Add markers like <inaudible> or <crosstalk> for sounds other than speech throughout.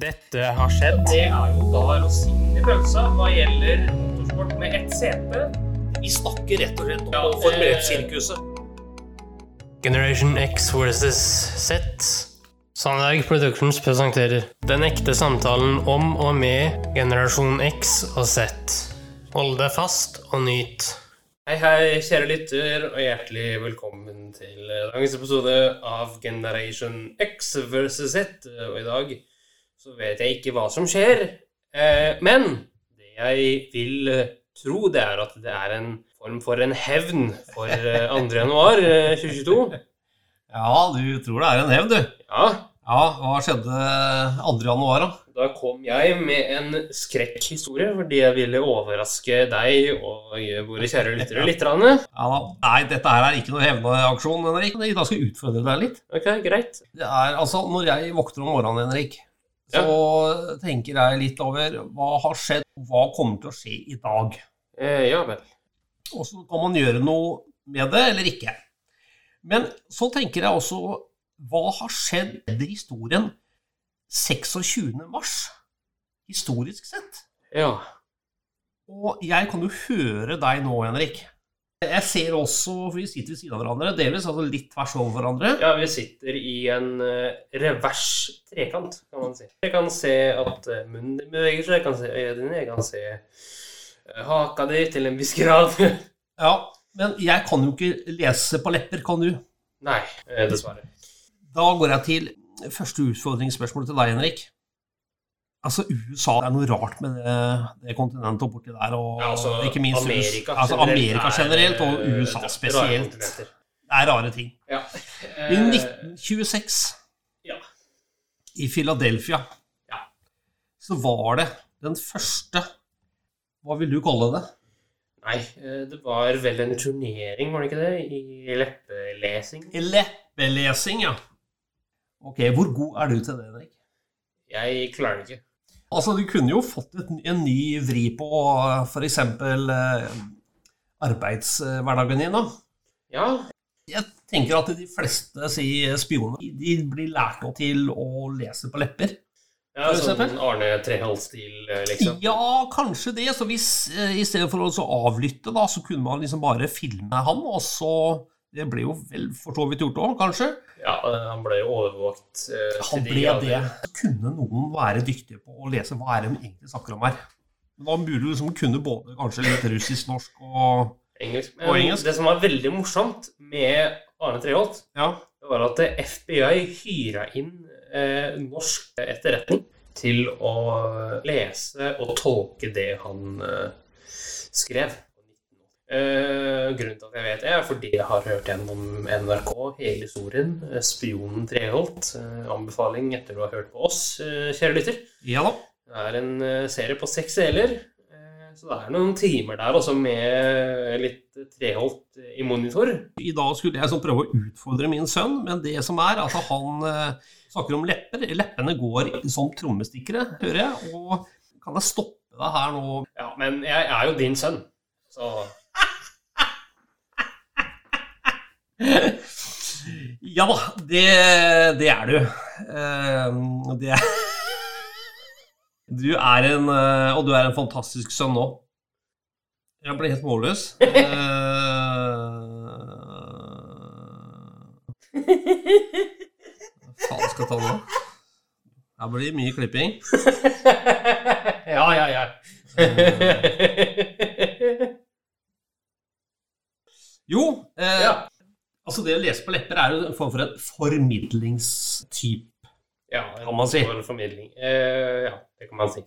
Dette har skjedd. Det er jo da rosinen i pølsa hva gjelder motorsport med ett sete. Vi snakker rett og slett om Ja, ja, det- Formel eh, 1-sirkuset. Generation X versus Z. Sandberg Productions presenterer Den ekte samtalen om og med generasjon X og Z. Hold deg fast og nyt. Hei, hei, kjære lytter, og hjertelig velkommen til dagens episode av Generation X versus Z. Og i dag så vet jeg ikke hva som skjer, eh, men det jeg vil eh, tro, det er at det er en form for en hevn for eh, 2. januar eh, 2022. Ja, du tror det er en hevn, du. Ja, Ja, hva skjedde 2. januar, da? da kom jeg med en skrekkhistorie fordi jeg ville overraske deg og våre kjære lyttere litt. grann. Ja, da. Nei, dette her er ikke noen hevnaksjon, Henrik. Men I dag skal jeg utfordre deg litt. Ok, greit. Det er altså, Når jeg våkner om morgenen, Henrik, så tenker jeg litt over hva har skjedd, og hva kommer til å skje i dag. Eh, ja vel. Og så kan man gjøre noe med det, eller ikke. Men så tenker jeg også hva har skjedd i historien 26. mars, historisk sett? Ja. Og jeg kan jo høre deg nå, Henrik. Jeg ser også, for vi sitter ved siden av hverandre, delvis altså litt tvers over hverandre. ja, vi sitter i en eh, revers trekant, kan man si. Jeg kan se at eh, munnen din beveger seg, jeg kan se øya dine, jeg kan se eh, haka di til en viss grad. <laughs> Ja, Men jeg kan jo ikke lese på lepper, kan du? Nei, eh, dessverre. Da går jeg til første utfordringsspørsmål til deg, Henrik. Altså, USA det er noe rart med det, det kontinentet og borti der, og Ja, altså, ikke minst US- Amerika altså, Amerika generelt generelt, er, eh, og USA rare spesielt. kontinenter. Det er rare ting. Ja. I Eh, 1926 ja. i Philadelphia Ja. så var det den første Hva vil du kalle det? Nei, eh, det var vel en turnering, var det ikke det? I leppelesing. Leppelesing, ja. Ok, Hvor god er du til det, Henrik? Jeg klarer det ikke. Altså, Du kunne jo fått et, en ny vri på f.eks. Eh, arbeidshverdagen din. da. Ja, Jeg tenker at de fleste si, spioner de blir lært opp til å lese på lepper. ja For sånn eksempel? Arne Treholt-stil, eh, liksom. Ja, kanskje det. Så hvis eh, i stedet for å så avlytte, da, så kunne man liksom bare filme han, og så Det ble jo vel for så vidt gjort òg, kanskje. Ja, eh, han ble jo overvåkt. eh, til Han de ble grader. det. Kunne noen være dyktige på å lese hva er det de egentlig snakker om her? Men da burde du liksom kunne både kanskje litt russisk, norsk og Engelsk. Men Og engelsk. det som var veldig morsomt med Arne Treholt, Ja. det var at eh, FBI hyra inn eh, norsk etterretning til å lese og tolke det han eh, skrev. Eh, grunnen til at jeg vet det, er fordi jeg har hørt gjennom NRK hele historien. eh, Spionen Treholt. Eh, anbefaling etter du har hørt på oss, eh, kjære lytter. Ja da. Det er en eh, serie på seks deler. eh, Så det er noen timer der også med litt Treholt i monitor. I dag skulle jeg sånn prøve å utfordre min sønn, men det som er, altså han eh, snakker om lepper. Leppene går som trommestikkere, hører jeg. Og kan jeg stoppe deg her nå Ja, men jeg er jo din sønn, så <laughs> <laughs> Ja da, det, det er du. Eh, Det er <laughs> Du er en eh, Og du er en fantastisk sønn nå. Jeg ble helt målløs. Eh, Hva faen skal jeg ta nå? Her blir det mye klipping. Ja, ja, <laughs> ja. Jo, eh, Ja. altså det å lese på lepper er jo en form for en formidlingstype. ja Kan man si. for Formidling. Eh, ja, det kan man si.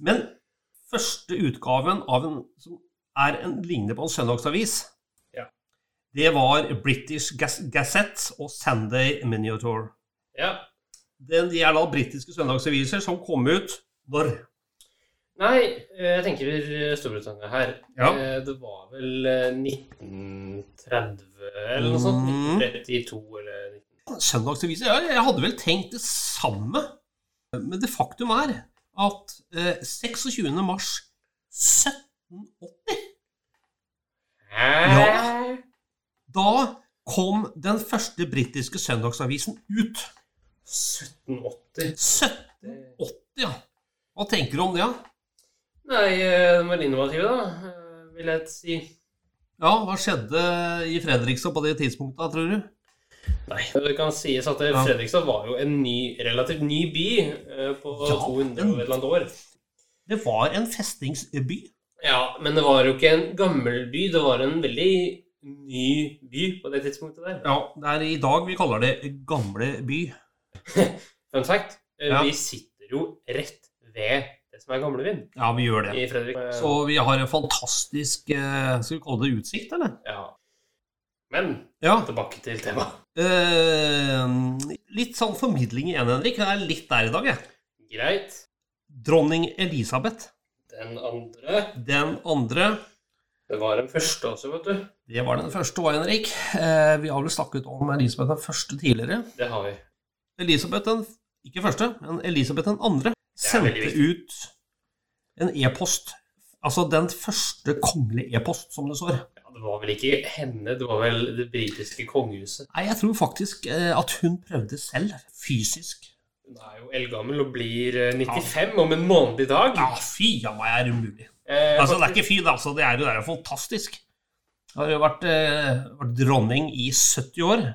Men første utgaven av en som er en lignende på en søndagsavis, Ja. det var British Gaz- Gazette og Sunday Miniature. Ja. Den, de er da britiske søndagsaviser som kom ut når? Nei, eh, jeg tenker Storbritannia her. Ja. Eh, Det var vel eh, 1930 eller noe sånt. Mm. 1932 eller 19... Søndagsaviser? Ja, jeg hadde vel tenkt det samme. Men det faktum er at eh, 26. mars 1780 Ja. Da kom den første britiske søndagsavisen ut. 1780. 1780. Hva tenker du om det? Ja? Nei, eh, de var innovative, da, eh, vil jeg si. ja, hva skjedde i Fredrikstad på det tidspunktet, tror du? Nei, det kan sies at eh, Ja. Fredrikstad var jo en ny, relativt ny by eh, på Ja, 200 den- og et eller annet år. Det var en festningsby. Ja, men det var jo ikke en gammel by, det var en veldig ny by på det tidspunktet der. Ja, det er i dag vi kaller det Gamle by. Fun fact, eh, Ja. vi sitter jo rett ved det som er Gamlebyen Ja, vi gjør det. i Fredrik. Eh, Så vi har en fantastisk eh, Skal vi kalle det utsikt, eller? Ja. Men Ja. tilbake til temaet. Eh, litt sånn formidling igjen, Henrik. Jeg er litt der i dag, jeg. Greit. Dronning Elisabeth. Den andre Den andre Det var den første også, vet du. Det var den første òg, Henrik. Eh, vi har vel snakket om Elisabeth den første tidligere. Det har vi. Elisabeth den ikke første, men Elisabeth den andre Det er veldig sendte ut en e-post. Altså den første kongelige e-post, som det står. Ja, det var vel ikke henne, det var vel det britiske kongehuset. Nei, jeg tror faktisk eh, at hun prøvde selv, fysisk. Hun er jo eldgammel og blir eh, 95 om en måned i dag. Ja, fy a meg, er det mulig? Eh, Altså, det er ikke fy, det, altså. Det er jo det er jo fantastisk. Hun har jo vært, eh, vært dronning i 70 år.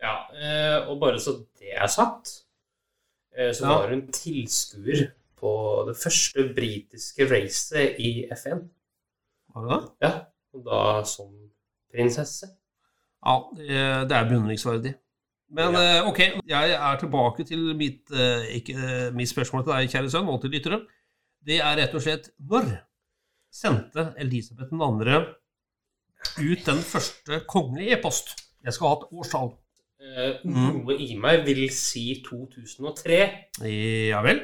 ja, eh, og bare så det er satt, eh, så Ja. var hun tilskuer på det første britiske racet i FN. Var hun det? Ja, og da som prinsesse. Ja, eh, det er beundringsverdig. Men eh, ok, jeg er tilbake til mitt, eh, ikke, eh, mitt spørsmål til deg, kjære sønn, og til lyttere. Det er rett og slett når sendte Elisabeth 2. ut den første kongelige e-post? Jeg skal ha et årstall. Eh, Mm. Noe i meg vil si 2003. Ja vel?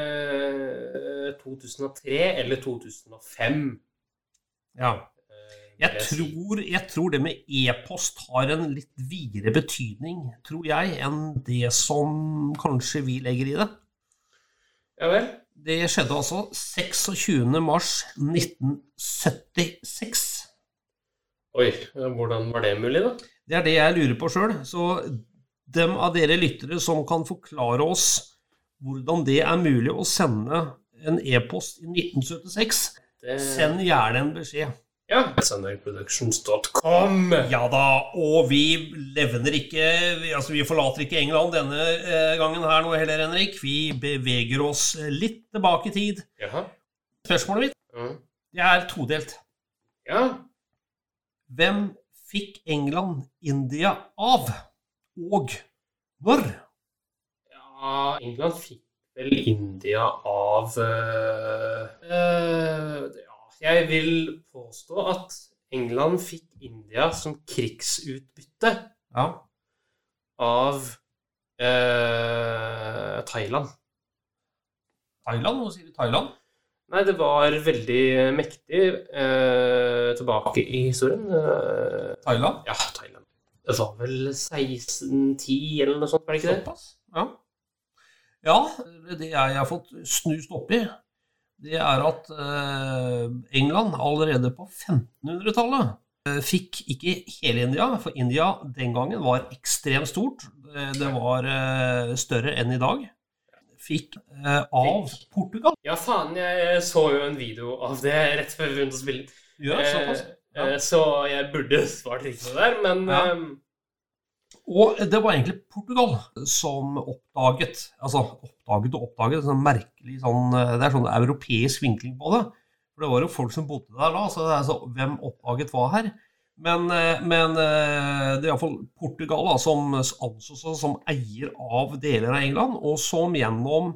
Eh, 2003 eller 2005. Ja. eh, vil Jeg si. tror, jeg tror det med e-post har en litt videre betydning, tror jeg, enn det som kanskje vi legger i det. Ja vel? Det skjedde altså 26. mars 1976. Oi, eh, hvordan var det mulig, da? Det er det jeg lurer på sjøl. Så dem av dere lyttere som kan forklare oss hvordan det er mulig å sende en e-post i 1976, Det... send gjerne en beskjed. Ja. Sendagproductions.com. Ja da, og vi levner ikke vi- Altså, vi forlater ikke England denne eh, gangen her nå heller, Henrik. Vi beveger oss litt tilbake i tid. Jaha. Spørsmålet mitt Ja. det er todelt. ja. Hvem fikk England India av? Og når? ja England fikk vel India av eh, eh, ja, Jeg vil påstå at England fikk India som krigsutbytte Ja. av eh, Thailand. Thailand? Nå sier vi Thailand. Nei, det var veldig mektig eh, tilbake i historien. Eh, Thailand. ja, Thailand. Det var vel 1610 eller noe sånt, var det ikke det? Såpass. Ja. ja. Det jeg har fått snust opp i, det er at eh, England allerede på 1500-tallet eh, fikk ikke hele India, for India den gangen var ekstremt stort. Eh, Det var eh, større enn i dag. Fikk eh, av Fikk. Portugal. Ja, faen, jeg så jo en video av det rett før vi begynte å spille. Ja, såpass. Ja. Eh, Så jeg burde svart riktig der, men Ja. eh, Og det var egentlig Portugal som oppdaget Altså oppdaget og oppdaget sånn merkelig sånn Det er sånn europeisk vinkling på det. For det var jo folk som bodde der da, så det er så, hvem oppdaget hva her? Men, eh, men eh, det er iallfall Portugal da, som anså seg som eier av deler av England, og som gjennom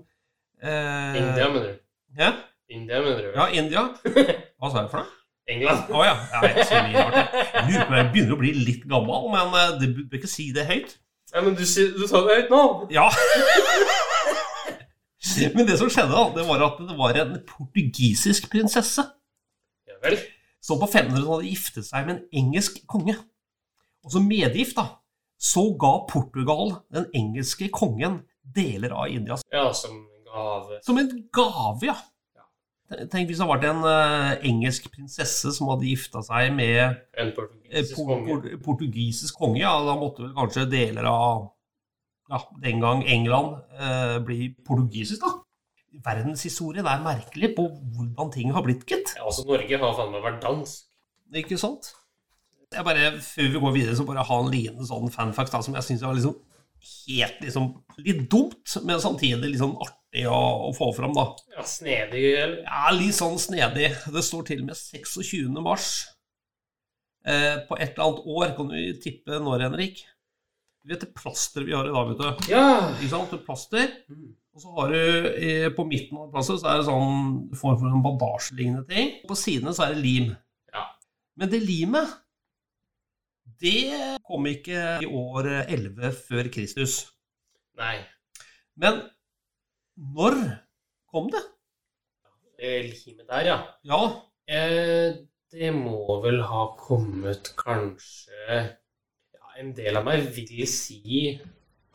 eh, India, mener du? Ja, India, mener du? ja, India. Hva sa jeg for noe? England? Å ja. Jeg, vet, så mye rart, jeg. Jeg lurer på, jeg begynner å bli litt gammel, men eh, det bør ikke si det høyt. Ja, men du, sier- du sa det høyt nå! Ja. <laughs> Men det som skjedde, da, det var at det var en portugisisk prinsesse Ja vel. som på 500-tallet giftet seg med en engelsk konge. Og som medgift da, så ga Portugal den engelske kongen deler av India Ja, som eh, gave. som en gave, ja. Tenk hvis det hadde vært en eh, engelsk prinsesse som hadde gifta seg med En eh, portugisisk por konge. por portugisisk konge. Ja, da måtte vel kanskje deler av ja, den gang England eh, bli portugisisk, da. verdenshistorien er merkelig på hvordan ting har blitt, gitt. Ja, altså, Norge har faen meg vært dansk. Ikke sant? Jeg bare, Før vi går videre, så bare ha en liten sånn fanfax da, som jeg syns var liksom helt liksom, litt dumt, men samtidig litt sånn artig å, å få fram. da. Ja, Snedig, eller? Ja, litt sånn snedig. Det står til og med 26. mars. Eh, på et eller annet år, kan du tippe når, Henrik? Du vet det plasteret vi har i dag, vet du. Ja! Ikke sant? Et plaster. Mm. Og så har du eh, på midten av plasset så er det sånn du får for en bandasjelignende ting. På sidene så er det lim. Ja. Men det limet, det kom ikke i år 11 før Kristus. Nei. Men når kom det? Eh, Limet der, ja. Ja, Eh, det må vel ha kommet kanskje ja, En del av meg vil si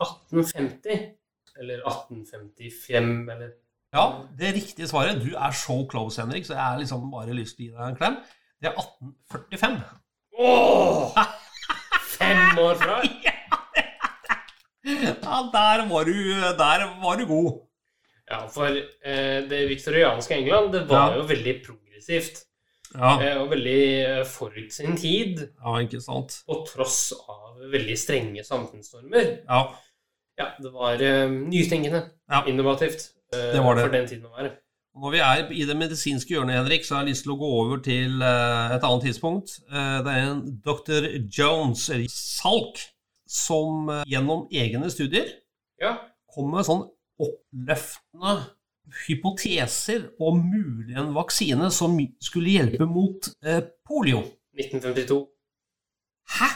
1850. Eller 1855, eller ja, det riktige svaret. Du er så close, Henrik, så jeg har liksom bare lyst til å gi deg en klem. Det er 1845. Åh! Fem år fra? Ja, der var du, der var du god. Ja, for eh, det viktorianske England det var Ja. jo veldig progressivt. Ja, Eh, og veldig eh, forut sin tid, ja ikke sant. på tross av veldig strenge samfunnsnormer. Ja, Ja, det var eh, nytenkende. Ja. Innovativt. eh, Det var det. For den tiden å være. Og Når vi er i det medisinske hjørnet, Henrik, så har jeg lyst til å gå over til eh, et annet tidspunkt. Eh, Det er en dr. Jones, eller Salk, som eh, gjennom egne studier Ja. kom med sånn oppløftende hypoteser om mulig en vaksine som skulle hjelpe mot eh, polio. 1952. Hæ?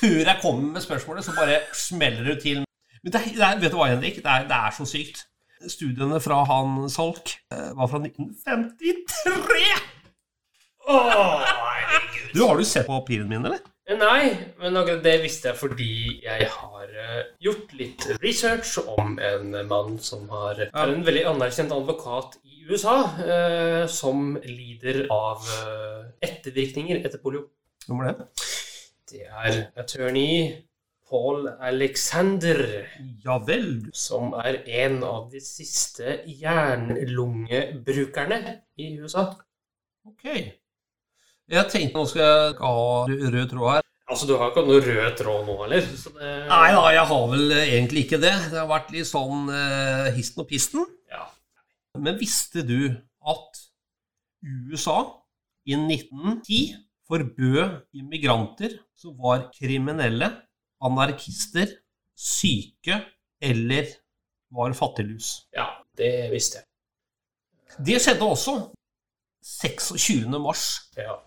Før jeg kommer med spørsmålet, så bare smeller du til. Men det, er- det, er- vet du hva, Henrik? Det er, det er så sykt. Studiene fra han Salk eh, var fra 1953! Åh, herregud. Du, Har du sett på papirene mine, eller? Eh, Nei, men akkurat det visste jeg fordi jeg har eh, gjort litt research om en mann som har, er en veldig anerkjent advokat i USA, eh, som lider av eh, ettervirkninger etter polio. Hvem var det? Det er attorney Paul Alexander, Ja vel. du. som er en av de siste jernlungebrukerne i USA. Ok. Jeg tenkte nå skal jeg ikke ha rød tråd her. Altså, du har ikke noe rød tråd nå, eller? Så det, Nei da, jeg har vel eh, egentlig ikke det. Det har vært litt sånn eh, histen og pisten. Ja. Men visste du at USA i 1910 forbød immigranter som var kriminelle, anarkister, syke eller var fattiglus? ja, det visste jeg. Det skjedde også 26. mars. Ja.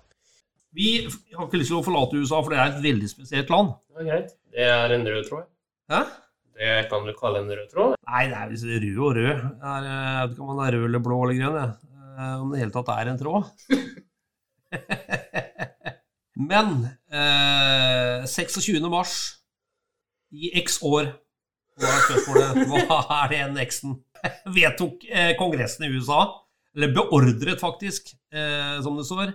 Vi har ikke lyst til å forlate USA, for det er et veldig spesielt land. Det er greit. Det er en rød tråd. Hæ? Det kan du kalle en rød tråd. Nei, det er visst rød og rød. Det er, eh, jeg vet ikke om man er rød eller blå eller grønn, jeg. Eh, om det i hele tatt er en tråd. <laughs> Men eh, 26. mars i x år Hva er spørsmålet? Hva er det NX-en? <laughs> Vedtok eh, Kongressen i USA, eller beordret faktisk, eh, som det står,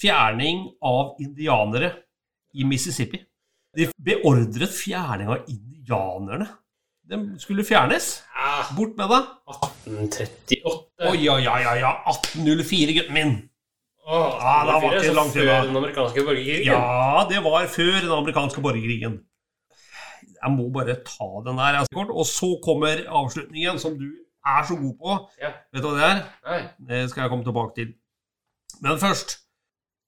fjerning av indianere i Mississippi. De beordret fjerning av indianerne. De skulle fjernes. Ja, Mm, Bort med deg. 1838. Oi, oi, oi, oi, oi, 1804, gutten min. Åh, Ja, Ah, da var det 1804, så langt før unna. den amerikanske borgerkrigen. Ja, det var før den amerikanske borgerkrigen. Jeg må bare ta den der. altså, kort. Og så kommer avslutningen, som du er så god på. Ja. Vet du hva det er? Nei. Det skal jeg komme tilbake til. Men først,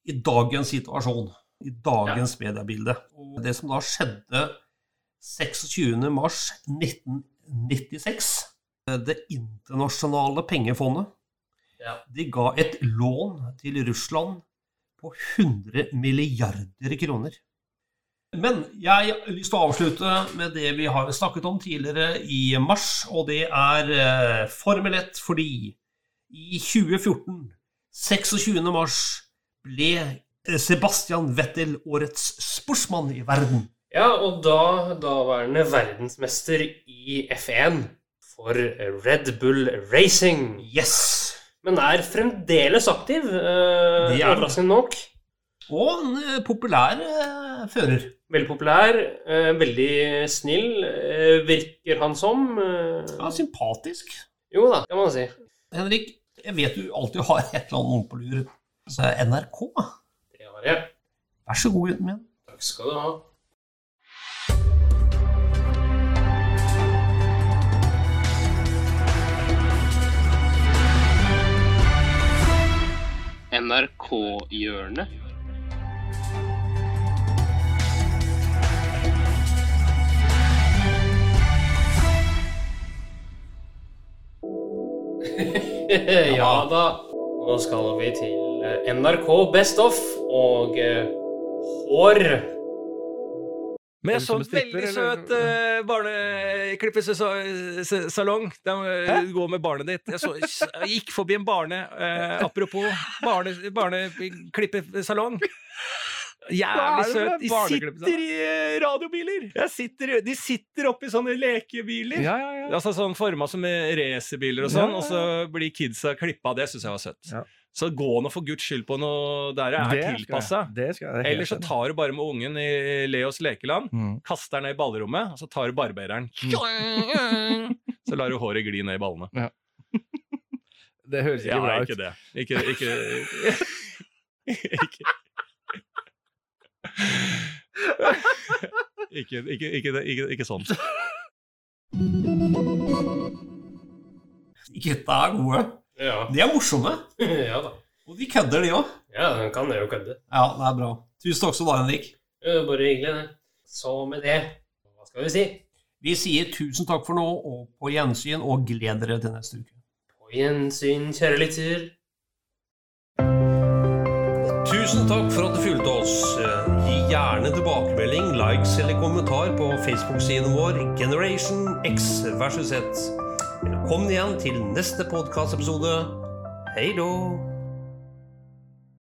i dagens situasjon, i dagens mediebilde, og det som da skjedde 26. mars 1996, det internasjonale pengefondet, Ja. de ga et lån til Russland på 100 milliarder kroner. Men jeg har lyst til å avslutte med det vi har snakket om tidligere i mars, og det er eh, Formel 1 fordi i 2014, 26. mars, ble eh, Sebastian Vettel årets sportsmann i verden. ja, og da daværende verdensmester i F1 for Red Bull Racing. Yes! Men er fremdeles aktiv, eh, Det er han. overraskende nok. Og en eh, populær eh, fører. Veldig populær, eh, veldig snill, eh, virker han som. eh, Ja, sympatisk. Jo da, kan man si. Henrik, jeg vet du alltid har et eller annet noen på lur. Så er det NRK. Det har jeg. Vær så god, gutten min. Takk skal du ha. NRK-hjørnet. <laughs> ja da. Nå skal vi til eh, NRK Best Off og eh, hår. Med Hvem som sånn stripper, veldig eller? søt uh, barneklippesalong. De eh, går med barnet ditt. Jeg, så, jeg gikk forbi en barne eh, Apropos barne, barneklippesalong. Hva Jævlig er det søt. med De barneklippesalong? sitter i eh, radiobiler! Jeg sitter, i- de sitter oppi sånne lekebiler. Ja, ja, ja. Altså sånn Forma som eh, racerbiler og sånn, Ja, ja, og så blir kidsa klippa. Det syns jeg var søtt. Ja. Så gå nå for guds skyld på noe der jeg er tilpassa. Det skal jeg. det er helt Eller så enig. tar du bare med ungen i Leos lekeland. Mm. kaster ned i ballrommet, og så tar du barbereren. <laughs> Så lar du håret gli ned i ballene. Det høres ikke Ja, bra ut. ikke det. Ikke, ikke, ikke. Ikke, ikke, ikke, det- ikke, ikke sånn. Gutta er gode. Ja. De er morsomme. <laughs> ja da. Og de kødder, de òg. Ja, den kan jeg jo kødde. Ja, det er bra. Tusen takk skal du ha, Henrik. Det er jo Bare hyggelig, det. Så med det, hva skal vi si? Vi sier tusen takk for nå, og på gjensyn, og gled dere til neste uke. På gjensyn, kjære lytter. Tusen takk for at du fulgte oss. Eh, Gi gjerne tilbakemelding, likes eller kommentar på Facebook-siden vår Generation X versus Z. Velkommen igjen til neste podkastepisode. Hei då!